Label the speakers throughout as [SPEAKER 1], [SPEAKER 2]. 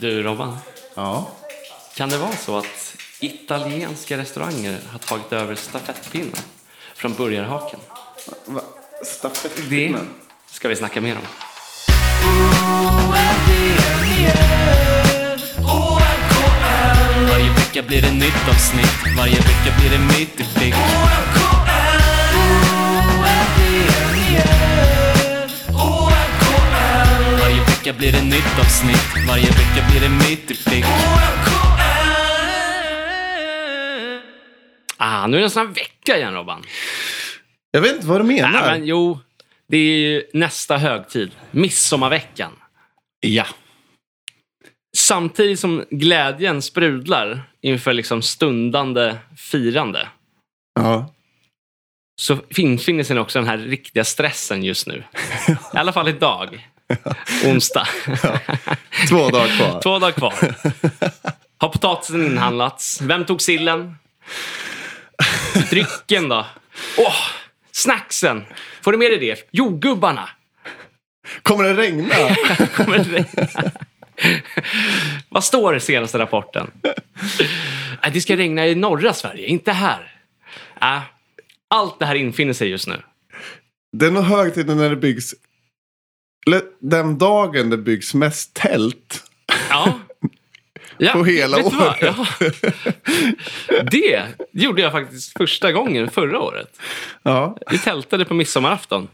[SPEAKER 1] Du Robban,
[SPEAKER 2] Ja.
[SPEAKER 1] kan det vara så att italienska restauranger har tagit över stafettpinnen från burgarhaken?
[SPEAKER 2] Va?
[SPEAKER 1] Det
[SPEAKER 2] Stafettpinnen?
[SPEAKER 1] ska vi snacka mer om.
[SPEAKER 3] Varje vecka blir det nytt avsnitt, varje vecka blir det mitt i prick Varje vecka blir det nytt avsnitt, varje vecka blir det mitt i prick
[SPEAKER 1] Ah, nu är det en sån här vecka igen Robban.
[SPEAKER 2] Jag vet inte vad du menar.
[SPEAKER 1] Nej, men jo, det är ju nästa högtid, midsommarveckan.
[SPEAKER 2] Ja.
[SPEAKER 1] Samtidigt som glädjen sprudlar inför liksom stundande firande
[SPEAKER 2] Ja.
[SPEAKER 1] så infinner sig också den här riktiga stressen just nu. I alla fall idag, onsdag.
[SPEAKER 2] Två dagar kvar.
[SPEAKER 1] Två dagar kvar. Har potatisen inhandlats? Vem tog sillen? Drycken då? Åh, snacksen! Får du med dig det? Jordgubbarna!
[SPEAKER 2] Kommer det regna?
[SPEAKER 1] Kommer det regna? Vad står det i senaste rapporten? Nej, Det ska regna i norra Sverige, inte här. Äh, Allt det här infinner sig just nu.
[SPEAKER 2] Det är nog högtiden när det byggs... Eller den dagen det byggs mest tält.
[SPEAKER 1] Ja. ja
[SPEAKER 2] På hela
[SPEAKER 1] vet du vad?
[SPEAKER 2] året.
[SPEAKER 1] Ja. Det gjorde jag faktiskt första gången förra året.
[SPEAKER 2] Ja.
[SPEAKER 1] Vi tältade på midsommarafton.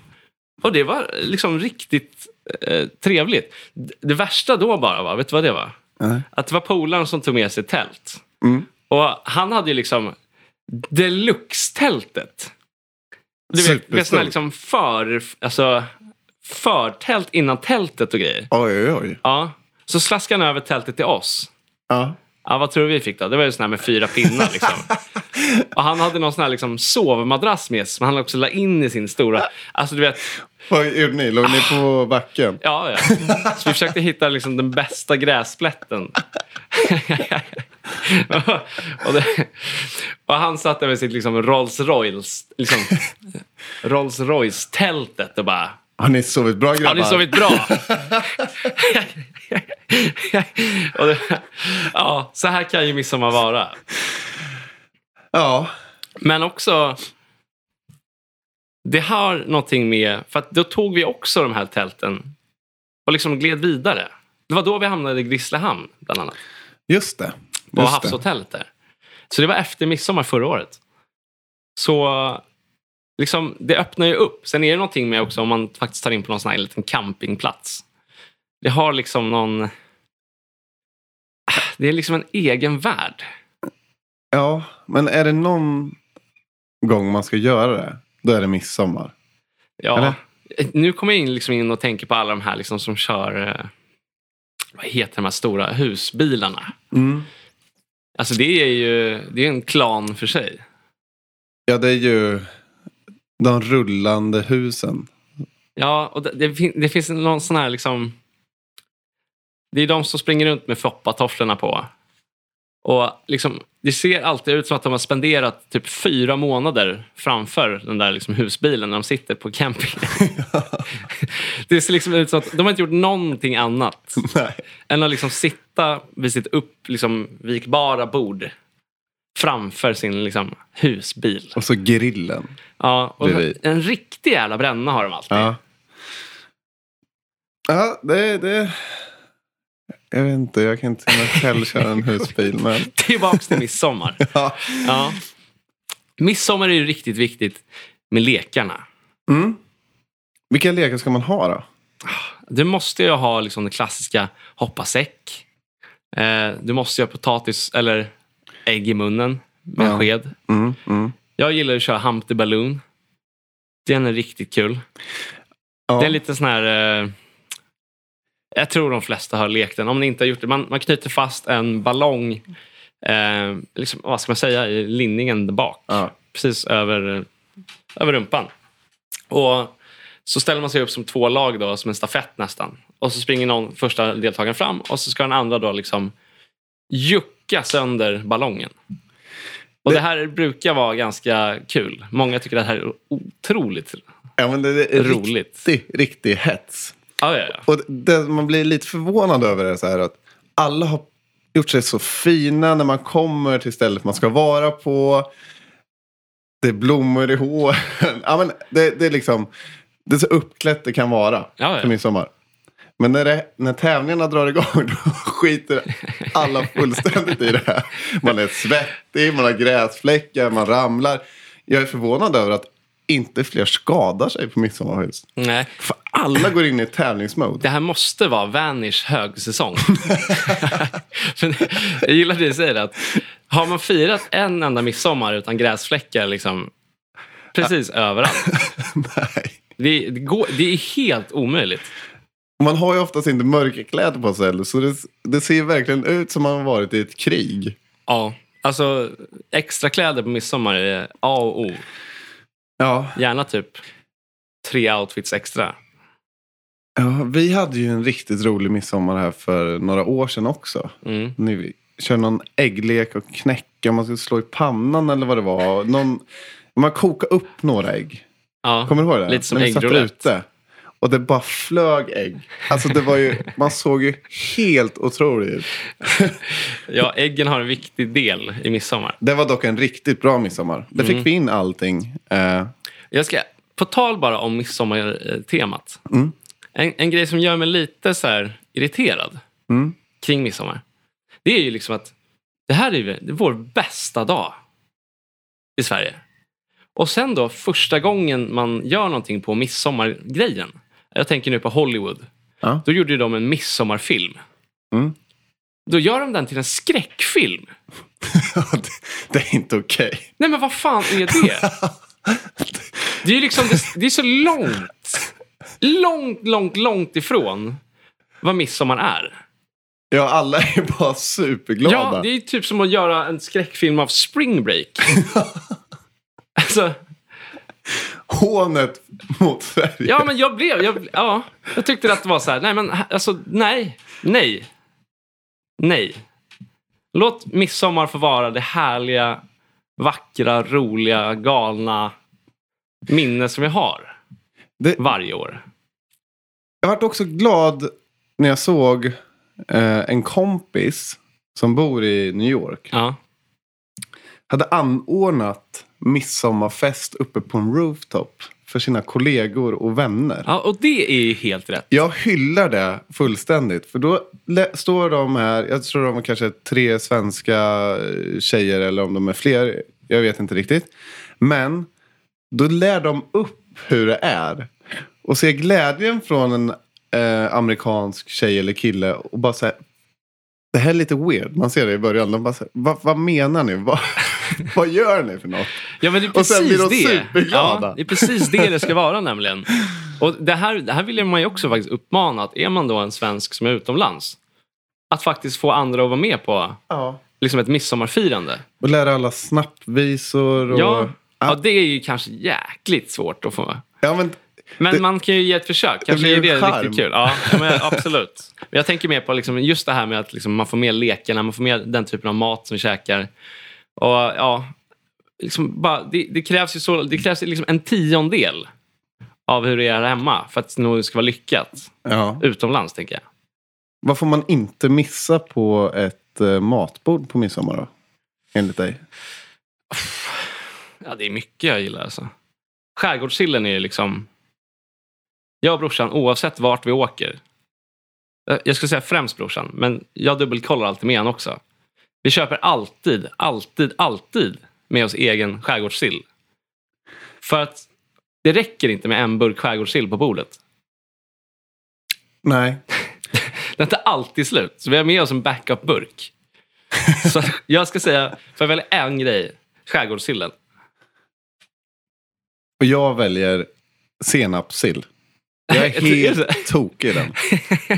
[SPEAKER 1] Och det var liksom riktigt eh, trevligt. D- Det värsta då bara, var, vet du vad det var?
[SPEAKER 2] Nej.
[SPEAKER 1] Att det var polaren som tog med sig tält. Och han hade ju liksom deluxe-tältet. Du vet,
[SPEAKER 2] Superstort.
[SPEAKER 1] med såna här liksom för, alltså, förtält innan tältet och grejer.
[SPEAKER 2] Oj, oj, oj.
[SPEAKER 1] Ja. Så slaskade han över tältet till oss.
[SPEAKER 2] Ja.
[SPEAKER 1] Ja, vad tror du vi fick då? Det var ju sån här med fyra pinnar liksom. Och han hade någon sån här liksom sovmadrass med sig som han också la in i sin stora... Alltså du vet,
[SPEAKER 2] Vad gjorde ni? Låg ni på backen?
[SPEAKER 1] ja ja. Så vi försökte hitta liksom den bästa gräsplätten. och, det, och han satt där med sitt liksom Rolls Royce, liksom Rolls Royce-tältet och bara
[SPEAKER 2] Har ni sovit bra grabbar?
[SPEAKER 1] Har ni sovit bra? och det, ja, så här kan ju midsommar vara.
[SPEAKER 2] Ja.
[SPEAKER 1] Men också... Det har någonting med... För att då tog vi också de här tälten och liksom gled vidare. Det var då vi hamnade i Grisslehamn, bland annat.
[SPEAKER 2] Just det.
[SPEAKER 1] På
[SPEAKER 2] Just det.
[SPEAKER 1] havshotellet där. Så det var efter midsommar förra året. Så liksom, det öppnar ju upp. Sen är det någonting med också om man faktiskt tar in på någon sån här liten campingplats. Det har liksom någon... Det är liksom en egen värld.
[SPEAKER 2] Ja, men är det någon gång man ska göra det, då är det midsommar.
[SPEAKER 1] Ja.
[SPEAKER 2] Eller?
[SPEAKER 1] Nu kommer jag in, liksom in och tänker på alla de här liksom som kör eh, vad heter de här stora husbilarna. Alltså det är ju det är en klan för sig.
[SPEAKER 2] Ja, det är ju de rullande husen.
[SPEAKER 1] Ja, och det, det, fin- det finns någon sån här liksom... Det är de som springer runt med foppatofflorna på. Och liksom, det ser alltid ut som att de har spenderat typ fyra månader framför den där liksom husbilen när de sitter på campingen. det ser liksom ut som att de har inte gjort någonting annat.
[SPEAKER 2] Nej.
[SPEAKER 1] än att liksom sitta vid sitt upp, liksom, vikbara bord framför sin liksom, husbil.
[SPEAKER 2] Och så grillen.
[SPEAKER 1] Ja, och
[SPEAKER 2] Bredvid.
[SPEAKER 1] en riktig jävla bränna har de alltid.
[SPEAKER 2] Ja. Ja, det det. Jag vet inte, jag kan inte jag själv köra en husbil. Men,
[SPEAKER 1] Tillbaks till midsommar.
[SPEAKER 2] ja.
[SPEAKER 1] Ja. Midsommar är ju riktigt viktigt med lekarna.
[SPEAKER 2] mm. Vilka lekar ska man ha då?
[SPEAKER 1] Du måste ju ha liksom, det klassiska hoppa säck. Eh, du måste ju ha potatis eller ägg i munnen med
[SPEAKER 2] Ja.
[SPEAKER 1] sked.
[SPEAKER 2] Mm, mm.
[SPEAKER 1] Jag gillar att köra Humpty Balloon. Den är riktigt kul.
[SPEAKER 2] Ja.
[SPEAKER 1] Det är lite sån här... Eh, jag tror de flesta har lekt den, om ni inte har gjort det. Man, man knyter fast en ballong, eh, liksom, vad ska man säga, i linningen där bak.
[SPEAKER 2] Ja.
[SPEAKER 1] Precis över, eh, över rumpan. Och så ställer man sig upp som två lag, då, som en stafett nästan. Och så springer någon första deltagaren fram och så ska den andra då liksom jucka sönder ballongen. Och det... här brukar vara ganska kul. Många tycker att det här är otroligt
[SPEAKER 2] Ja, men det är
[SPEAKER 1] Roligt.
[SPEAKER 2] Riktig, riktig hets.
[SPEAKER 1] Ja, ja, ja.
[SPEAKER 2] Och det man blir lite förvånad över är så här att alla har gjort sig så fina när man kommer till stället man ska vara på. Det är blommor i håren. Ja, men det, det är liksom det är så uppklätt det kan vara
[SPEAKER 1] Ja, ja.
[SPEAKER 2] till midsommar. Men när, det, när tävlingarna drar igång då skiter alla fullständigt i det här. Man är svettig, man har gräsfläckar, man ramlar. Jag är förvånad över att inte fler skadar sig på midsommarhus.
[SPEAKER 1] Nej,
[SPEAKER 2] För alla går in i tävlingsmode.
[SPEAKER 1] det här måste vara Vanish högsäsong. För jag gillar det du säger. Att har man firat en enda midsommar utan gräsfläckar liksom, precis överallt.
[SPEAKER 2] Nej.
[SPEAKER 1] Det, det, går, det är helt omöjligt.
[SPEAKER 2] Man har ju oftast inte mörka kläder på sig heller, så det, det ser verkligen ut som man har varit i ett krig.
[SPEAKER 1] Ja, alltså extra kläder på midsommar är A och O.
[SPEAKER 2] Ja.
[SPEAKER 1] Gärna typ tre outfits extra.
[SPEAKER 2] ja, vi hade ju en riktigt rolig midsommar här för några år sedan också.
[SPEAKER 1] Mm.
[SPEAKER 2] När vi körde någon ägglek och knäcka, man skulle slå i pannan eller vad det var. Någon, man kokade upp några ägg.
[SPEAKER 1] Ja.
[SPEAKER 2] Kommer du ihåg det?
[SPEAKER 1] Lite som
[SPEAKER 2] När vi satt
[SPEAKER 1] äggroulette.
[SPEAKER 2] ute. Och det bara flög ägg. Alltså det var ju, man såg ju helt otroligt ut.
[SPEAKER 1] ja, äggen har en viktig del i midsommar.
[SPEAKER 2] Det var dock en riktigt bra midsommar. Där
[SPEAKER 1] Mm.
[SPEAKER 2] fick vi in allting. Eh,
[SPEAKER 1] Jag ska, på tal bara om midsommartemat.
[SPEAKER 2] Mm.
[SPEAKER 1] En, en grej som gör mig lite så här irriterad
[SPEAKER 2] Mm.
[SPEAKER 1] kring midsommar. Det är ju liksom att det här är ju det är vår bästa dag i Sverige. Och sen då första gången man gör någonting på midsommargrejen. Jag tänker nu på Hollywood.
[SPEAKER 2] Ja.
[SPEAKER 1] Då gjorde ju de en midsommarfilm.
[SPEAKER 2] Mm.
[SPEAKER 1] Då gör de den till en skräckfilm.
[SPEAKER 2] Ja, det, det är inte okej.
[SPEAKER 1] Nej men vad fan är det? Det är ju liksom, det, det är så långt. Långt, långt, långt ifrån vad midsommar är.
[SPEAKER 2] Ja, alla är bara superglada.
[SPEAKER 1] Ja, det är ju typ som att göra en skräckfilm av Spring Break. alltså,
[SPEAKER 2] Hånet mot Sverige.
[SPEAKER 1] ja men jag blev, jag, ja, jag tyckte att det var så här, nej men alltså nej, nej, nej. Låt midsommar få vara det härliga, vackra, roliga, galna minne som vi har
[SPEAKER 2] Det-
[SPEAKER 1] varje år.
[SPEAKER 2] Jag vart också glad när jag såg eh, en kompis som bor i New York.
[SPEAKER 1] Ja.
[SPEAKER 2] Hade anordnat midsommarfest uppe på en rooftop för sina kollegor och vänner.
[SPEAKER 1] ja, och det är ju helt rätt.
[SPEAKER 2] Jag hyllar det fullständigt. För då lä- står de här, jag tror de är kanske tre svenska eh, tjejer eller om de är fler. Jag vet inte riktigt. Men då lär de upp hur det är. Och ser glädjen från en eh, amerikansk tjej eller kille och bara så här. Det här är lite weird. Man ser det i början. De bara så här, "Va- vad menar ni? Va- vad gör ni för något?
[SPEAKER 1] Ja, men det är
[SPEAKER 2] Och
[SPEAKER 1] precis
[SPEAKER 2] sen blir de
[SPEAKER 1] det.
[SPEAKER 2] superglada.
[SPEAKER 1] Ja, det är precis det det ska vara nämligen. Och det här, det här vill man ju också faktiskt uppmana, att är man då en svensk som är utomlands, att faktiskt få andra att vara med på
[SPEAKER 2] Ja.
[SPEAKER 1] liksom ett midsommarfirande.
[SPEAKER 2] Och lära alla snappvisor. Och...
[SPEAKER 1] Ja, ja, det är ju kanske jäkligt svårt att få.
[SPEAKER 2] ja, men
[SPEAKER 1] Men
[SPEAKER 2] Det-
[SPEAKER 1] man kan ju ge ett försök. Kanske
[SPEAKER 2] blir
[SPEAKER 1] är
[SPEAKER 2] ju
[SPEAKER 1] det
[SPEAKER 2] charm.
[SPEAKER 1] riktigt kul. Ja, ja, men absolut. Men Jag tänker mer på liksom just det här med att liksom man får med lekarna, man får med den typen av mat som vi käkar. Och, ja, liksom bara, det, det krävs ju så, det krävs ju liksom en tiondel av hur det är här hemma för att det nog ska vara lyckat
[SPEAKER 2] ja.
[SPEAKER 1] utomlands. tänker jag.
[SPEAKER 2] Vad får man inte missa på ett eh, matbord på midsommar då? Enligt dig?
[SPEAKER 1] Ja, det är mycket jag gillar. Alltså. Skärgårdssillen är ju liksom... Jag och brorsan, oavsett vart vi åker. eh, Jag skulle säga främst brorsan, men jag dubbelkollar alltid med honom också. Vi köper alltid, alltid, alltid med oss egen skärgårdssill. För att det räcker inte med en burk skärgårdssill på bordet.
[SPEAKER 2] Nej.
[SPEAKER 1] Den tar alltid slut, så vi har med oss en backup-burk. Så jag ska säga, för jag väljer en grej, skärgårdssillen.
[SPEAKER 2] Och jag väljer senapssill. Jag är helt tokig i den.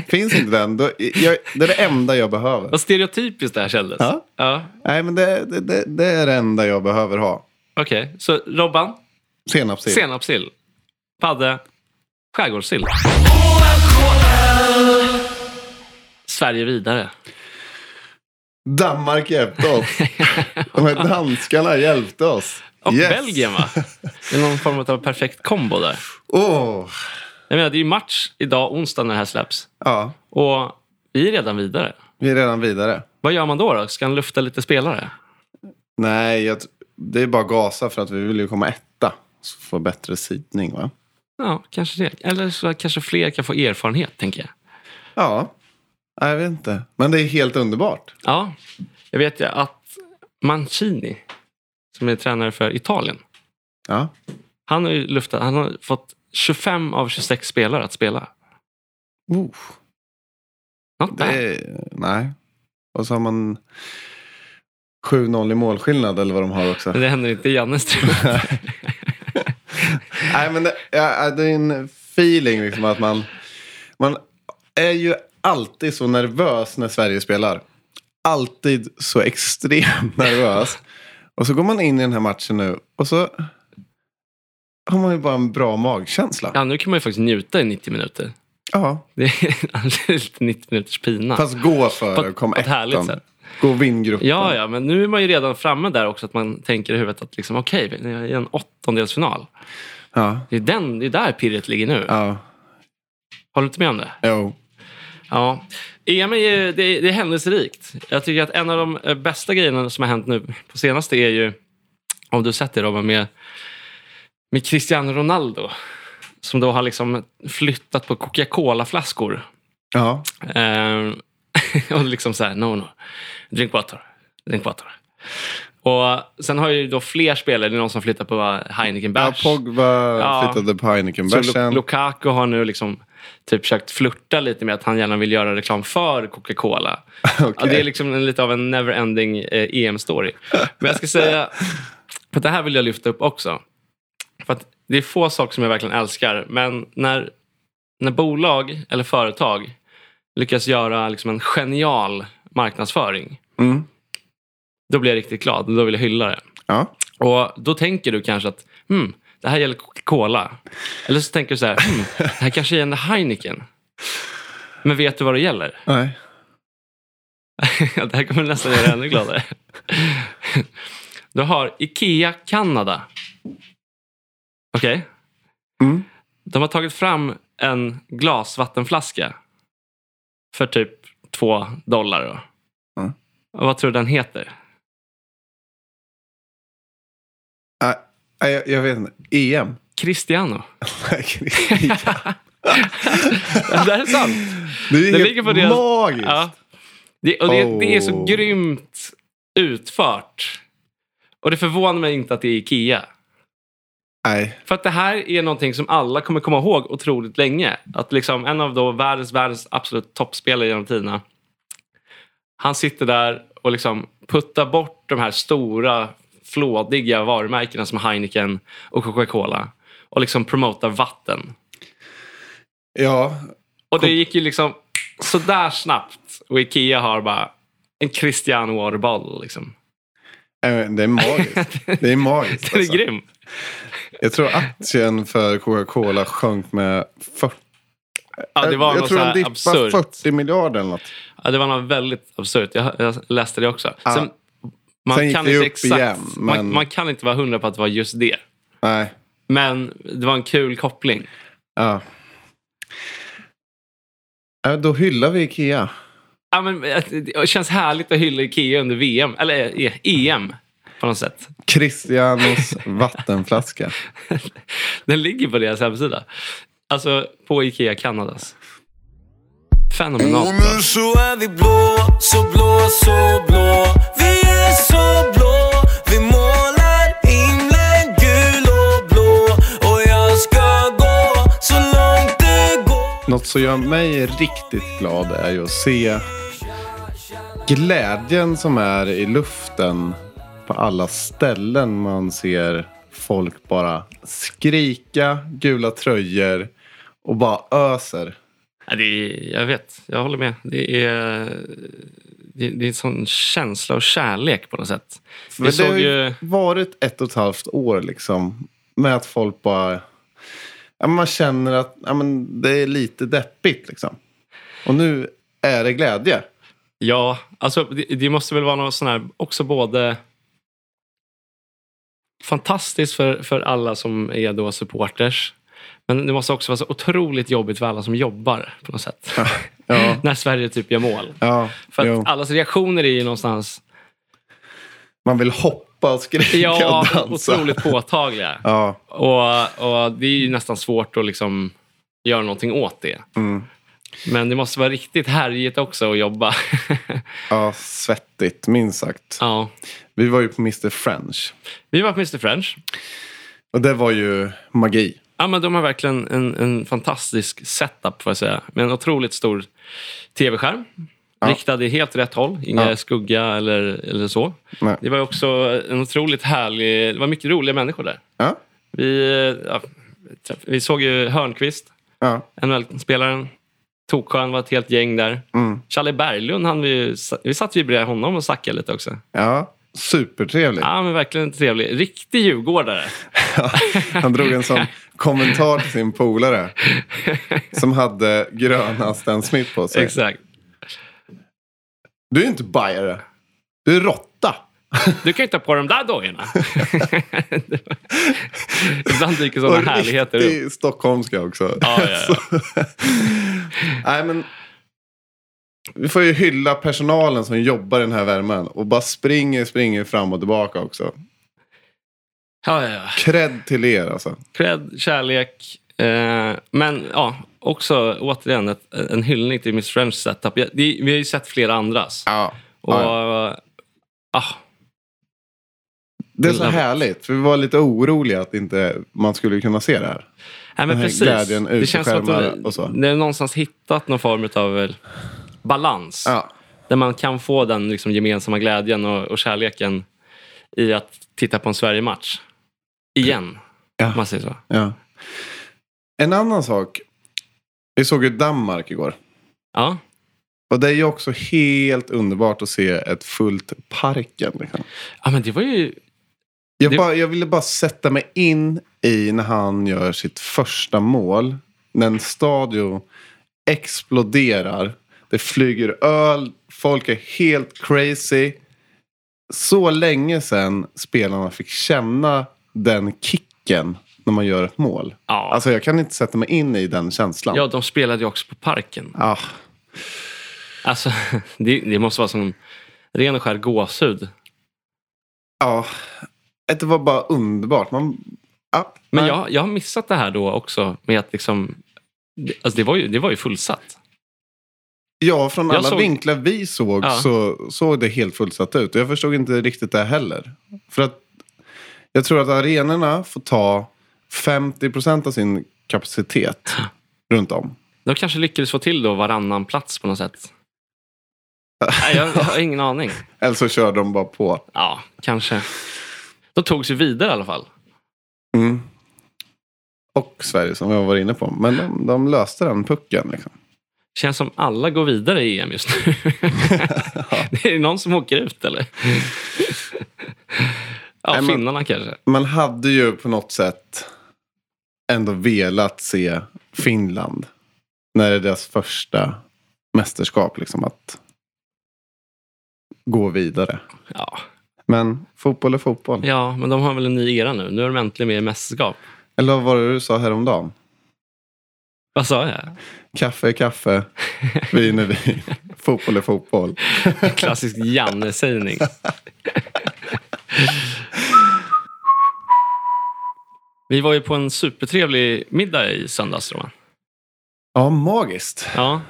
[SPEAKER 2] Finns inte den, då, jag, det är det enda jag behöver.
[SPEAKER 1] Vad stereotypiskt det här kändes.
[SPEAKER 2] Ja.
[SPEAKER 1] ja.
[SPEAKER 2] Nej, men det, det, det, det är det enda jag behöver ha.
[SPEAKER 1] Okej, så Robban,
[SPEAKER 2] Senapssill.
[SPEAKER 1] senapssill. Padde, skärgårdssill. Sverige vidare.
[SPEAKER 2] Danmark hjälpte oss. De här danskarna hjälpte oss.
[SPEAKER 1] Och
[SPEAKER 2] Yes.
[SPEAKER 1] Belgien va? Det är någon form av perfekt kombo där.
[SPEAKER 2] Åh,
[SPEAKER 1] Jag menar, det är ju match idag, onsdag, när det här släpps.
[SPEAKER 2] Ja,
[SPEAKER 1] Och vi är redan vidare.
[SPEAKER 2] vi är redan vidare.
[SPEAKER 1] Vad gör man då? då? Ska han lufta lite spelare?
[SPEAKER 2] Nej, jag, tr- det är bara gasa för att vi vill ju komma etta. Så få bättre sidning va?
[SPEAKER 1] Ja, kanske det. Eller så kanske fler kan få erfarenhet, tänker jag.
[SPEAKER 2] Ja, Nej, jag vet inte. Men det är helt underbart.
[SPEAKER 1] Ja, jag vet ju att Mancini, som är tränare för Italien,
[SPEAKER 2] Ja,
[SPEAKER 1] han har ju luftat, han har fått 25 av 26 spelare att spela.
[SPEAKER 2] oh,
[SPEAKER 1] Not
[SPEAKER 2] det
[SPEAKER 1] bad.
[SPEAKER 2] är, nej. Och så har man 7-0 i målskillnad eller vad de har också.
[SPEAKER 1] Men det händer inte i Jannes trupp.
[SPEAKER 2] Nej, men det, ja, det är en feeling liksom att man... Man är ju alltid så nervös när Sverige spelar. Alltid så extremt nervös. Och så går man in i den här matchen nu och så har man ju bara en bra magkänsla. Ja.
[SPEAKER 1] Ja, nu kan man ju faktiskt njuta i 90 minuter. Det är lite 90 minuters pina.
[SPEAKER 2] Fast gå före,
[SPEAKER 1] ett-
[SPEAKER 2] kom
[SPEAKER 1] på ett härligt
[SPEAKER 2] ettan.
[SPEAKER 1] sätt.
[SPEAKER 2] Gå och vinn gruppen.
[SPEAKER 1] Ja, ja, men nu är man ju redan framme där också. Att man tänker i huvudet att liksom, okej, vi är i en åttondelsfinal.
[SPEAKER 2] ja.
[SPEAKER 1] Det är, den, det är där pirret ligger nu.
[SPEAKER 2] ja.
[SPEAKER 1] Håller du inte med om det?
[SPEAKER 2] Jo.
[SPEAKER 1] Ja. EM är ju, det, det är händelserikt. Jag tycker att en av de eh, bästa grejerna som har hänt nu på senaste är ju, om du sett det Robin, med, med Cristiano Ronaldo. Som då har liksom flyttat på Coca-Cola-flaskor.
[SPEAKER 2] Ja.
[SPEAKER 1] Ehm, och liksom så här, no, no. Drink water. Drink water. Och sen har ju då fler spelare, det är någon som flyttar på eh, Heineken
[SPEAKER 2] ja,
[SPEAKER 1] Bärs.
[SPEAKER 2] Pogba
[SPEAKER 1] Ja.
[SPEAKER 2] flyttade på
[SPEAKER 1] Så Lu-
[SPEAKER 2] Heineken-bärsen.
[SPEAKER 1] Lukaku har nu liksom typ försökt flirta lite med att han gärna vill göra reklam för Coca-Cola. Ja, det är liksom en, lite av en never-ending eh, EM-story. Men jag ska säga, för det här vill jag lyfta upp också. För att det är få saker som jag verkligen älskar, men när, när bolag eller företag lyckas göra liksom en genial marknadsföring,
[SPEAKER 2] Mm.
[SPEAKER 1] då blir jag riktigt glad och då vill jag hylla det.
[SPEAKER 2] Ja.
[SPEAKER 1] Och då tänker du kanske att hmm, det här gäller Coca-Cola. Eller så tänker du så här, hmm, det här kanske gäller Heineken. Men vet du vad det gäller?
[SPEAKER 2] Nej.
[SPEAKER 1] det här kommer nästan göra dig ännu gladare. du har Ikea Kanada. Okej?
[SPEAKER 2] Mm.
[SPEAKER 1] De har tagit fram en glasvattenflaska för typ två dollar. Då.
[SPEAKER 2] Mm.
[SPEAKER 1] Och vad tror du den heter?
[SPEAKER 2] Nej, nej, Ah, jag, jag vet inte. EM?
[SPEAKER 1] Cristiano.
[SPEAKER 2] Nej, Kristian.
[SPEAKER 1] det här är sant.
[SPEAKER 2] Det är
[SPEAKER 1] Det
[SPEAKER 2] helt
[SPEAKER 1] ligger på deras-
[SPEAKER 2] magiskt.
[SPEAKER 1] Ja. Det, och det, det är så
[SPEAKER 2] Oh.
[SPEAKER 1] grymt utfört. Och det förvånar mig inte att det är Ikea.
[SPEAKER 2] Nej.
[SPEAKER 1] För att det här är någonting som alla kommer komma ihåg otroligt länge. Att liksom en av då världens, världens absolut toppspelare genom tiderna. Han sitter där och liksom puttar bort de här stora flådiga varumärkena som Heineken och Coca-Cola. Och liksom promotar vatten.
[SPEAKER 2] Ja,
[SPEAKER 1] Och det gick ju liksom sådär snabbt. Och Ikea har bara en Christian Waterbottle. Liksom.
[SPEAKER 2] eh, det är magiskt. Det är magiskt.
[SPEAKER 1] Den är
[SPEAKER 2] alltså.
[SPEAKER 1] grym.
[SPEAKER 2] Jag tror aktien för Coca-Cola sjönk med 40.
[SPEAKER 1] Ja, det var
[SPEAKER 2] jag
[SPEAKER 1] något
[SPEAKER 2] tror
[SPEAKER 1] så
[SPEAKER 2] den
[SPEAKER 1] här
[SPEAKER 2] dippade
[SPEAKER 1] absurt.
[SPEAKER 2] 40 miljarder eller något.
[SPEAKER 1] Ja, det var något väldigt absurt. Jag, jag läste det också.
[SPEAKER 2] Ja.
[SPEAKER 1] Sen, man
[SPEAKER 2] Sen gick
[SPEAKER 1] kan
[SPEAKER 2] det
[SPEAKER 1] inte
[SPEAKER 2] upp
[SPEAKER 1] exakt,
[SPEAKER 2] igen, men-
[SPEAKER 1] man, man kan inte vara hundra på att det var just det.
[SPEAKER 2] Nej.
[SPEAKER 1] Men det var en kul koppling.
[SPEAKER 2] Ja. Ja, Då hyllar vi Ikea.
[SPEAKER 1] Ja, men, eh, det känns härligt att hylla Ikea under VM, eller eh, EM på något sätt.
[SPEAKER 2] Christianos vattenflaska.
[SPEAKER 1] Den ligger på deras hemsida. Alltså på Ikea Kanadas. Fenomenalt.
[SPEAKER 4] Och
[SPEAKER 2] Mm.
[SPEAKER 4] nu så är vi blå, så blå, så blå Vi är så blå Vi målar himlen gul och blå Och jag ska gå så långt det går
[SPEAKER 2] Något som gör mig riktigt glad är ju att se glädjen som är i luften på alla ställen man ser folk bara skrika, gula tröjor och bara öser.
[SPEAKER 1] Ja, det är, jag vet, jag håller med. Det är, det, det är en sån känsla och kärlek på något sätt.
[SPEAKER 2] För
[SPEAKER 1] Vi
[SPEAKER 2] det har
[SPEAKER 1] såg ju...
[SPEAKER 2] varit ett och ett halvt år liksom med att folk bara... Ja, men man känner att ja, men det är lite deppigt liksom. Och nu är det glädje.
[SPEAKER 1] Ja, alltså det, det måste väl vara någon sån här också både fantastiskt för, för alla som är då supporters Men det måste också vara så otroligt jobbigt för alla som jobbar på något sätt.
[SPEAKER 2] Ja,
[SPEAKER 1] När Sverige typ gör mål.
[SPEAKER 2] ja
[SPEAKER 1] För
[SPEAKER 2] jo.
[SPEAKER 1] att allas reaktioner är ju någonstans
[SPEAKER 2] Man vill hoppa och skrika
[SPEAKER 1] ja,
[SPEAKER 2] och dansa.
[SPEAKER 1] otroligt påtagliga.
[SPEAKER 2] Ja,
[SPEAKER 1] Och, och det är ju nästan svårt att liksom göra någonting åt det.
[SPEAKER 2] mm.
[SPEAKER 1] Men det måste vara riktigt härjigt också att jobba.
[SPEAKER 2] ja, svettigt minst sagt.
[SPEAKER 1] ja.
[SPEAKER 2] Vi var ju på Mr French.
[SPEAKER 1] Vi var på Mr French.
[SPEAKER 2] Och det var ju magi.
[SPEAKER 1] Ja, men de har verkligen en, en fantastisk setup, får jag säga. Med en otroligt stor tv-skärm. Riktad i helt rätt håll. Inga
[SPEAKER 2] Ja.
[SPEAKER 1] skugga eller, eller så.
[SPEAKER 2] Nej.
[SPEAKER 1] Det var ju också en otroligt härlig... Det var mycket roliga människor där.
[SPEAKER 2] Ja,
[SPEAKER 1] Vi, eh, ja, träff- vi såg ju Hörnqvist,
[SPEAKER 2] ja,
[SPEAKER 1] NHL-spelaren. Tokön var ett helt gäng där.
[SPEAKER 2] mm.
[SPEAKER 1] Charlie Berglund, han, vi, ju- vi satt ju bredvid honom och snackade lite också.
[SPEAKER 2] ja. Supertrevligt.
[SPEAKER 1] Ja, men verkligen trevlig. Riktig djurgårdare.
[SPEAKER 2] Han drog en sån kommentar till sin polare. Som hade gröna Stan Smith på sig.
[SPEAKER 1] Exakt.
[SPEAKER 2] Du är ju inte bajare. Du är råtta.
[SPEAKER 1] Du kan ju ta på de där dojorna. Det var- Ibland dyker sådana
[SPEAKER 2] Och
[SPEAKER 1] härligheter upp.
[SPEAKER 2] riktig stockholmska också.
[SPEAKER 1] Ja, ja, ja.
[SPEAKER 2] Så- Nej, men vi får ju hylla personalen som jobbar i den här värmen. Och bara springer, springer fram och tillbaka också.
[SPEAKER 1] Ja, ja, ja.
[SPEAKER 2] Cred till er alltså.
[SPEAKER 1] Cred, kärlek. Eh, men ja, också återigen ett, en hyllning till Miss French setup. Ja, det, vi har ju sett flera andras.
[SPEAKER 2] Ja.
[SPEAKER 1] Och,
[SPEAKER 2] ja.
[SPEAKER 1] ah,
[SPEAKER 2] Det är så
[SPEAKER 1] love it.
[SPEAKER 2] härligt. För vi var lite oroliga att inte man skulle kunna se det här.
[SPEAKER 1] nej, men
[SPEAKER 2] här
[SPEAKER 1] precis.
[SPEAKER 2] glädjen ut i
[SPEAKER 1] det känns som att
[SPEAKER 2] skärmar
[SPEAKER 1] de,
[SPEAKER 2] och så.
[SPEAKER 1] de har någonstans hittat någon form av eh, balans.
[SPEAKER 2] Ja.
[SPEAKER 1] Där man kan få den liksom, gemensamma glädjen och, och kärleken i att titta på en Sverige-match. Igen,
[SPEAKER 2] Ja.
[SPEAKER 1] om man säger så.
[SPEAKER 2] ja. En annan sak. Vi såg ju Danmark igår.
[SPEAKER 1] Ja.
[SPEAKER 2] Och det är ju också helt underbart att se ett fullt Parken. Liksom.
[SPEAKER 1] ja, men det var ju...
[SPEAKER 2] Jag,
[SPEAKER 1] Det-
[SPEAKER 2] bara, jag ville bara sätta mig in i när han gör sitt första mål. När en stadion exploderar. Det flyger öl. Folk är helt crazy. Så länge sedan spelarna fick känna den kicken när man gör ett mål.
[SPEAKER 1] Ja,
[SPEAKER 2] Alltså jag kan inte sätta mig in i den känslan.
[SPEAKER 1] ja, de spelade ju också på Parken.
[SPEAKER 2] Ah,
[SPEAKER 1] Alltså, det, det måste vara som ren och skär gåshud.
[SPEAKER 2] ja. Det var bara underbart. Man, ja,
[SPEAKER 1] Men
[SPEAKER 2] nej.
[SPEAKER 1] jag, jag har missat det här då också med att liksom... det- Alltså det, var ju, det var ju fullsatt.
[SPEAKER 2] Ja, från
[SPEAKER 1] Jag
[SPEAKER 2] alla
[SPEAKER 1] såg-
[SPEAKER 2] vinklar vi såg
[SPEAKER 1] Ja.
[SPEAKER 2] så såg det helt fullsatt ut. Och jag förstod inte riktigt det heller. För att jag tror att arenorna får ta 50 av sin kapacitet runt om.
[SPEAKER 1] De kanske lyckades få till då varannan plats på något sätt. Nej, jag, jag har ingen aning.
[SPEAKER 2] Eller så kör de bara på.
[SPEAKER 1] Ja, kanske. De tog sig vidare i alla fall.
[SPEAKER 2] Mm. Och Sverige som jag var inne på. Men de, de löste den pucken. Liksom.
[SPEAKER 1] Känns som alla går vidare i EM just nu. det är någon som åker ut eller? ja,
[SPEAKER 2] Mm. Nej, men-
[SPEAKER 1] finnarna kanske.
[SPEAKER 2] Man hade ju på något sätt ändå velat se Finland. När det är deras första mästerskap. Liksom, att gå vidare.
[SPEAKER 1] Ja.
[SPEAKER 2] Men fotboll är fotboll.
[SPEAKER 1] ja, men de har väl en ny era nu. Nu är de äntligen med i mästerskap.
[SPEAKER 2] Eller vad var det du sa häromdagen?
[SPEAKER 1] Vad sa jag?
[SPEAKER 2] Kaffe är kaffe, vin är vin, fotboll är fotboll.
[SPEAKER 1] Klassisk Janne-sägning. Vi var ju på en supertrevlig middag i söndags, Roman.
[SPEAKER 2] Ja, magiskt.
[SPEAKER 1] Ja.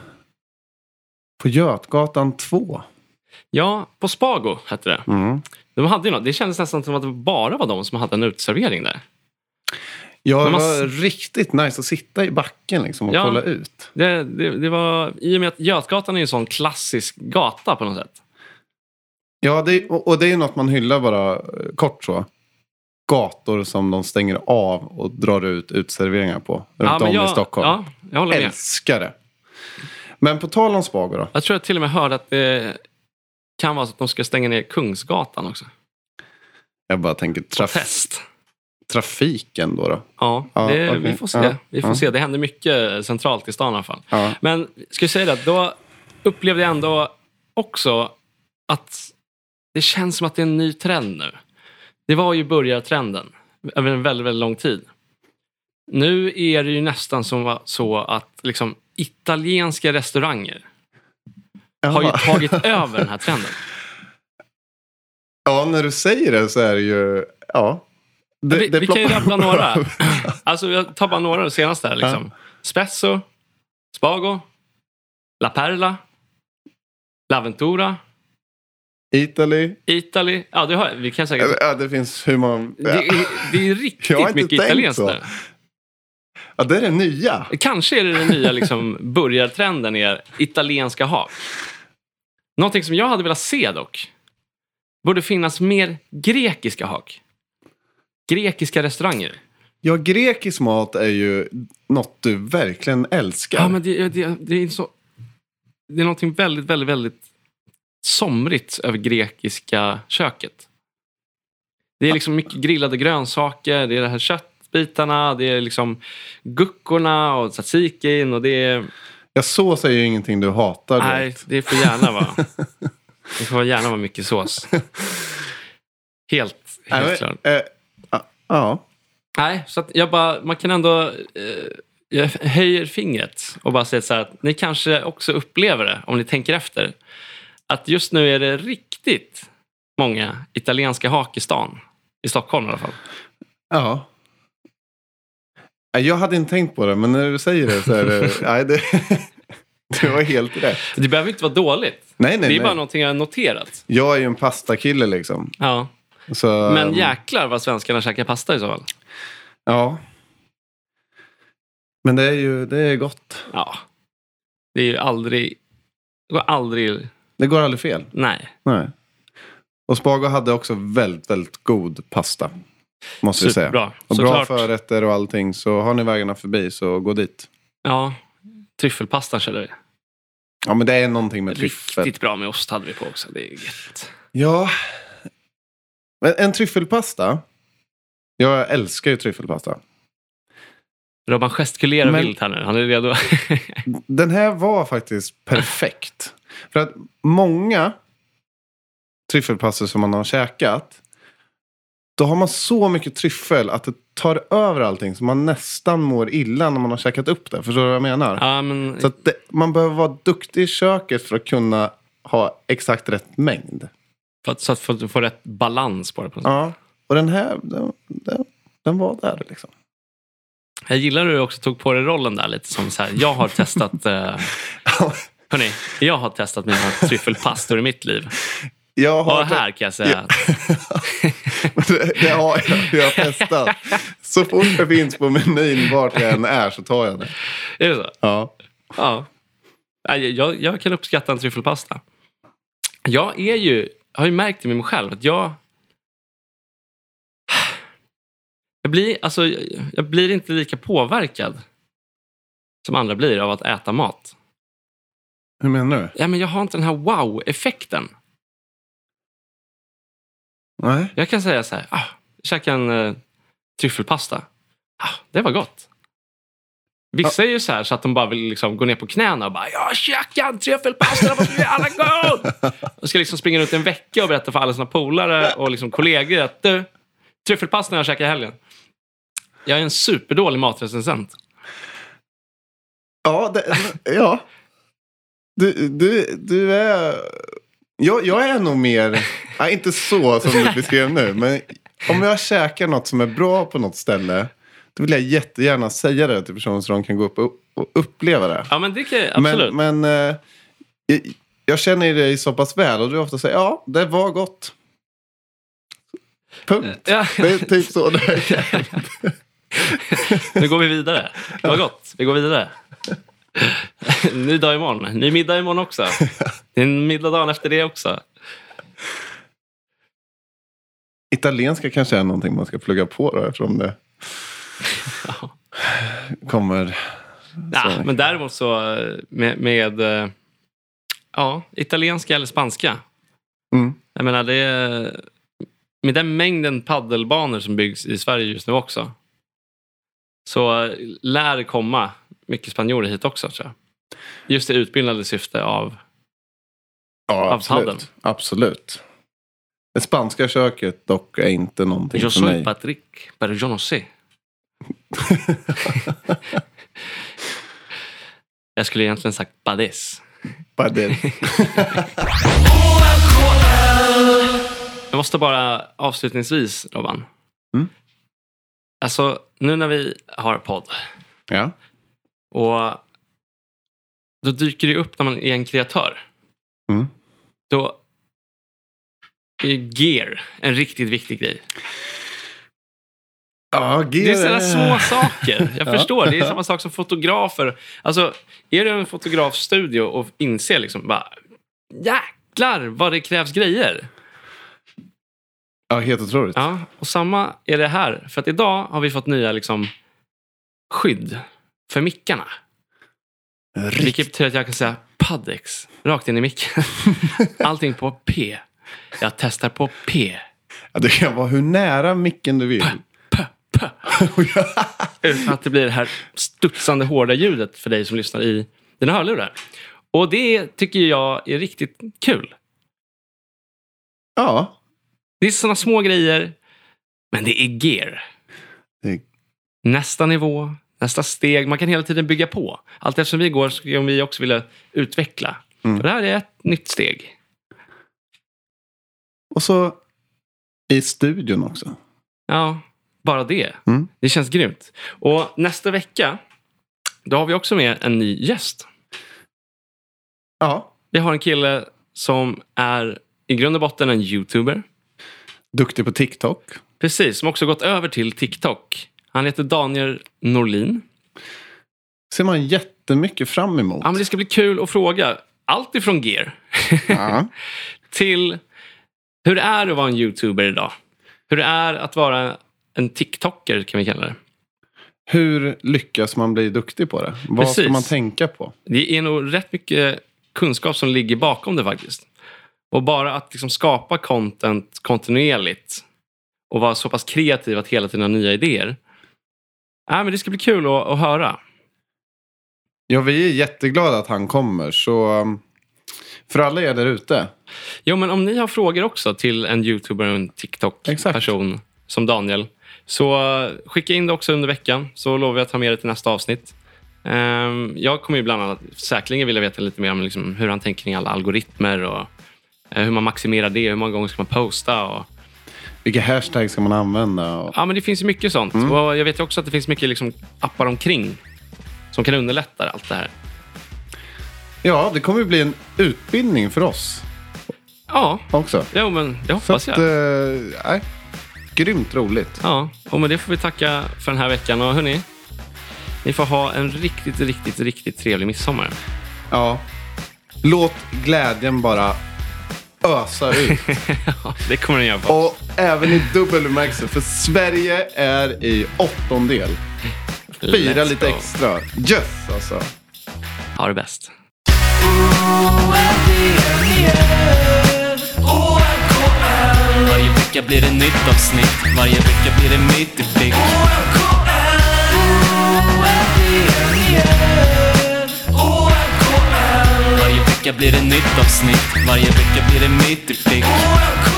[SPEAKER 2] På Götgatan 2.
[SPEAKER 1] ja, på Spago hette det.
[SPEAKER 2] Mm.
[SPEAKER 1] De hade ju något. Det kändes nästan som att det bara var de som hade en utservering där.
[SPEAKER 2] Ja, det
[SPEAKER 1] Men man-
[SPEAKER 2] var riktigt nice att sitta i backen liksom och
[SPEAKER 1] Ja.
[SPEAKER 2] kolla ut.
[SPEAKER 1] Det, det, det var, I och med att Götgatan är en sån klassisk gata på något sätt.
[SPEAKER 2] Ja, det, och och det är ju något man hyllar bara eh, kort så. Gator som de stänger av och drar ut utserveringar på. Runt
[SPEAKER 1] men
[SPEAKER 2] om
[SPEAKER 1] jag,
[SPEAKER 2] i Stockholm.
[SPEAKER 1] Ja, jag håller med.
[SPEAKER 2] Älskar det. Men på tal om Spago då.
[SPEAKER 1] Jag tror jag till och med hörde att det kan vara så att de ska stänga ner Kungsgatan också.
[SPEAKER 2] Jag bara tänker traf-
[SPEAKER 1] Test.
[SPEAKER 2] trafiken då. då.
[SPEAKER 1] Ja,
[SPEAKER 2] Ja,
[SPEAKER 1] det,
[SPEAKER 2] okej.
[SPEAKER 1] vi får se.
[SPEAKER 2] Ja,
[SPEAKER 1] vi får
[SPEAKER 2] ja.
[SPEAKER 1] se. Det händer mycket centralt i stan i alla fall.
[SPEAKER 2] Ja.
[SPEAKER 1] Men ska jag säga det, att då upplevde jag ändå också att det känns som att det är en ny trend nu. Det var ju börjartrenden över en väldigt, väldigt lång tid. Nu är det ju nästan som va- så att liksom, italienska restauranger har ju
[SPEAKER 2] Jaha.
[SPEAKER 1] tagit över den här trenden.
[SPEAKER 2] Ja, när du säger det så är det ju... Ja. Det,
[SPEAKER 1] vi,
[SPEAKER 2] det
[SPEAKER 1] vi kan ju
[SPEAKER 2] ploppar
[SPEAKER 1] rabbla
[SPEAKER 2] upp.
[SPEAKER 1] några. Alltså, jag tar bara några av de senaste. Här, liksom. Spesso, Spago, La Perla, La Ventura,
[SPEAKER 2] Italy.
[SPEAKER 1] Italy. Ja, det har, vi kan säkert...
[SPEAKER 2] Ja, det finns hur många...
[SPEAKER 1] Det
[SPEAKER 2] Alltså,
[SPEAKER 1] är,
[SPEAKER 2] Ja.
[SPEAKER 1] det är riktigt
[SPEAKER 2] Jag har inte
[SPEAKER 1] mycket
[SPEAKER 2] tänkt
[SPEAKER 1] italienskt
[SPEAKER 2] så.
[SPEAKER 1] nu.
[SPEAKER 2] ja, det är det nya.
[SPEAKER 1] Kanske är det den nya liksom, börjartrenden är italienska hak. Någonting som jag hade velat se dock, borde finnas mer grekiska hak. Grekiska restauranger.
[SPEAKER 2] Ja, grekisk mat är ju något du verkligen älskar.
[SPEAKER 1] Ja, men det, det, det är så... Det är någonting väldigt, väldigt, väldigt somrigt över grekiska köket. Det är liksom mycket grillade grönsaker, det är det här köttbitarna, det är liksom guckorna och tzatzikin och det är...
[SPEAKER 2] Ja, sås är ju ingenting du hatar.
[SPEAKER 1] Nej,
[SPEAKER 2] direkt.
[SPEAKER 1] det får gärna vara. Det får gärna vara mycket sås. Helt, helt
[SPEAKER 2] Nej,
[SPEAKER 1] klart.
[SPEAKER 2] men, eh, ja, ja.
[SPEAKER 1] Nej, så att jag bara, man kan ändå... Eh, jag höjer fingret och bara säger så här att ni kanske också upplever det, om ni tänker efter. Att just nu är det riktigt många italienska hak i stan. I Stockholm i alla fall.
[SPEAKER 2] ja. Nej, Jag hade inte tänkt på det, men när du säger det så är det... nej, det du har helt rätt.
[SPEAKER 1] Det behöver inte vara dåligt.
[SPEAKER 2] Nej, nej,
[SPEAKER 1] det är
[SPEAKER 2] nej.
[SPEAKER 1] bara någonting jag har noterat.
[SPEAKER 2] Jag är ju en pastakille liksom.
[SPEAKER 1] Ja.
[SPEAKER 2] Så,
[SPEAKER 1] Men
[SPEAKER 2] ehm,
[SPEAKER 1] jäklar vad svenskarna käkar pasta i så fall.
[SPEAKER 2] Ja. Men det är ju det är gott.
[SPEAKER 1] Ja. Det är ju aldrig... Det går aldrig...
[SPEAKER 2] Det går aldrig fel.
[SPEAKER 1] Nej.
[SPEAKER 2] Nej. Och Spago hade också väldigt, väldigt god pasta. Måste vi säga.
[SPEAKER 1] Superbra.
[SPEAKER 2] Och bra
[SPEAKER 1] Såklart.
[SPEAKER 2] förrätter och allting. Så har ni vägarna förbi så gå dit.
[SPEAKER 1] Ja, tryffelpastan körde vi.
[SPEAKER 2] Ja men det är någonting med tryffel.
[SPEAKER 1] Riktigt bra med ost hade vi på också. Det är gött.
[SPEAKER 2] Ja. Men en tryffelpasta. Jag älskar ju tryffelpasta.
[SPEAKER 1] Robban gestikulerar
[SPEAKER 2] Men-
[SPEAKER 1] vilt här nu. Han är redo.
[SPEAKER 2] Den här var faktiskt perfekt. För att många tryffelpastor som man har käkat. Då har man så mycket tryffel att det tar över allting. Så man nästan mår illa när man har käkat upp det. Förstår du vad jag menar?
[SPEAKER 1] ja, men,
[SPEAKER 2] Så att det, man behöver vara duktig i köket för att kunna ha exakt rätt mängd.
[SPEAKER 1] för att, så att få- få rätt balans på det. På något sätt.
[SPEAKER 2] Ja. Och den här, den, den, den var där liksom.
[SPEAKER 1] Jag gillar hur du också tog på dig rollen där lite. Som så här, jag har testat... Eh, hörni, jag har testat mina tryffelpastor i mitt liv.
[SPEAKER 2] Jag har
[SPEAKER 1] Och här kan jag säga. att
[SPEAKER 2] det, det har jag, jag har testat. Så fort det finns på menyn vart jag än är så tar jag det.
[SPEAKER 1] Är det så?
[SPEAKER 2] Ja.
[SPEAKER 1] Ja. Nej, Jag, jag kan uppskatta en tryffelpasta. Jag är ju, har ju märkt det med mig själv att jag... Jag blir, alltså, jag, jag blir inte lika påverkad som andra blir av att äta mat.
[SPEAKER 2] Hur menar du?
[SPEAKER 1] Ja, men jag har inte den här wow-effekten.
[SPEAKER 2] Nej.
[SPEAKER 1] Jag kan säga så här, ah, käka en eh, tryffelpasta. Ah, det var gott. Vissa är ju så här så att de bara vill liksom gå ner på knäna och bara “Jag käkade en tryffelpasta, det var så jävla gott!” Och ska liksom springa runt en vecka och berätta för alla sina polare och liksom kollegor att “Du, tryffelpasta jag käkade i helgen.” Jag är en superdålig matrecensent.
[SPEAKER 2] Ja. Det, ja. Du, du, du är... Jag, jag är nog mer... Nej, inte så som du beskrev nu. Men om jag käkar något som är bra på något ställe. Då vill jag jättegärna säga det till personer så de kan gå upp och, och uppleva det.
[SPEAKER 1] Ja, men det kan jag absolut.
[SPEAKER 2] Men, men eh, jag, jag känner ju dig så pass väl och du ofta säger ja, det var gott. Punkt.
[SPEAKER 1] Eh, Ja.
[SPEAKER 2] Det är typ så det är.
[SPEAKER 1] Nu går vi vidare. Det var gott. Vi går vidare. Ny dag imorgon. Ny middag imorgon också. Det är en middag dagen efter det också.
[SPEAKER 2] Italienska kanske är någonting man ska plugga på då eftersom det kommer.
[SPEAKER 1] Ja,
[SPEAKER 2] Så.
[SPEAKER 1] men däremot så eh, med, med eh, ja, italienska eller spanska.
[SPEAKER 2] Mm.
[SPEAKER 1] Jag menar, det är, med den mängden paddelbanor som byggs i Sverige just nu också så eh, lär det komma mycket spanjorer hit också. Tror jag. Just det utbildade syfte av...
[SPEAKER 2] Ja,
[SPEAKER 1] Av paddeln.
[SPEAKER 2] absolut. absolut. Det spanska köket dock är inte någonting
[SPEAKER 1] Jag
[SPEAKER 2] för mig.
[SPEAKER 1] soy Patrick, pero yo no sé. Jag skulle egentligen sagt badis.
[SPEAKER 2] Bara det.
[SPEAKER 1] Jag måste bara avslutningsvis, Robban.
[SPEAKER 2] Mm.
[SPEAKER 1] Alltså, nu när vi har podd
[SPEAKER 2] Ja.
[SPEAKER 1] och då dyker det upp när man är en kreatör.
[SPEAKER 2] Mm.
[SPEAKER 1] Då är gear en riktigt viktig grej.
[SPEAKER 2] Ja,
[SPEAKER 1] Det är sådana små saker. Jag
[SPEAKER 2] Ja.
[SPEAKER 1] förstår. Det är samma sak som fotografer. Alltså, är du en fotografstudio och inser liksom bara jäklar vad det krävs grejer.
[SPEAKER 2] Ja, helt otroligt.
[SPEAKER 1] Ja, och samma är det här. För att idag har vi fått nya liksom, skydd för mickarna.
[SPEAKER 2] Rikt-
[SPEAKER 1] Vilket betyder att jag kan säga Paddex rakt in i micken. Allting på P. Jag testar på P.
[SPEAKER 2] Ja, du kan vara hur nära micken du vill.
[SPEAKER 1] Utan att det blir det här studsande hårda ljudet för dig som lyssnar i dina hörlurar. Och det tycker jag är riktigt kul.
[SPEAKER 2] Ja,
[SPEAKER 1] Det är såna små grejer, men det är gear.
[SPEAKER 2] det är
[SPEAKER 1] Nästa nivå, nästa steg. Man kan hela tiden bygga på. Allt eftersom vi går skulle vi också vilja utveckla.
[SPEAKER 2] Mm.
[SPEAKER 1] Och det här är ett nytt steg.
[SPEAKER 2] Och så i studion också.
[SPEAKER 1] Ja, bara det.
[SPEAKER 2] Mm.
[SPEAKER 1] Det känns grymt. Och nästa vecka, då har vi också med en ny gäst.
[SPEAKER 2] Ja.
[SPEAKER 1] Vi har en kille som är i grund och botten en youtuber.
[SPEAKER 2] Duktig på TikTok.
[SPEAKER 1] Precis, som också gått över till TikTok. Han heter Daniel Norlin.
[SPEAKER 2] Ser man jättemycket fram emot.
[SPEAKER 1] Ja, men det ska bli kul att fråga allt ifrån gear
[SPEAKER 2] Ja.
[SPEAKER 1] till hur det är att vara en youtuber idag. Hur det är att vara en TikToker kan vi kalla det.
[SPEAKER 2] Hur lyckas man bli duktig på det? Vad ska
[SPEAKER 1] Precis.
[SPEAKER 2] man tänka på?
[SPEAKER 1] Det är nog rätt mycket kunskap som ligger bakom det faktiskt. Och bara att liksom skapa content kontinuerligt och vara så pass kreativ att hela tiden ha nya idéer. Ja, men det ska bli kul att, att höra.
[SPEAKER 2] Ja, vi är jätteglada att han kommer. Så um, för alla er där ute.
[SPEAKER 1] Jo, men om ni har frågor också till en youtuber och en
[SPEAKER 2] Exakt.
[SPEAKER 1] TikTok-person som Daniel, så eh, skicka in det också under veckan så lovar jag att ta med det till nästa avsnitt. Ehm, jag kommer ju bland annat säkerligen vilja veta lite mer om liksom hur han tänker kring alla algoritmer och eh, hur man maximerar det, hur många gånger ska man posta och
[SPEAKER 2] Vilka hashtags ska man använda? Och,
[SPEAKER 1] Ja, men det finns ju mycket sånt. Och jag vet ju också att det finns mycket liksom, appar omkring som kan underlätta allt det här.
[SPEAKER 2] ja, det kommer ju bli en utbildning för oss
[SPEAKER 1] Ja,
[SPEAKER 2] också.
[SPEAKER 1] jo, men det
[SPEAKER 2] Så
[SPEAKER 1] hoppas
[SPEAKER 2] att,
[SPEAKER 1] jag.
[SPEAKER 2] eh, nej, grymt roligt.
[SPEAKER 1] Ja, och med det får vi tacka för den här veckan. Och hörni, ni får ha en riktigt, riktigt, riktigt trevlig midsommar.
[SPEAKER 2] Ja. Låt glädjen bara ösa ut.
[SPEAKER 1] Ja, det kommer ni göra. På.
[SPEAKER 2] Och även i dubbel bemärkelse, för Sverige är i åttondel. Fira
[SPEAKER 1] Let's
[SPEAKER 2] lite
[SPEAKER 1] go.
[SPEAKER 2] extra. Yes, alltså.
[SPEAKER 1] Ha det bäst.
[SPEAKER 3] Varje vecka blir det nytt avsnitt Varje vecka blir det mitt i prick Varje vecka blir det nytt avsnitt Varje vecka blir det mitt i prick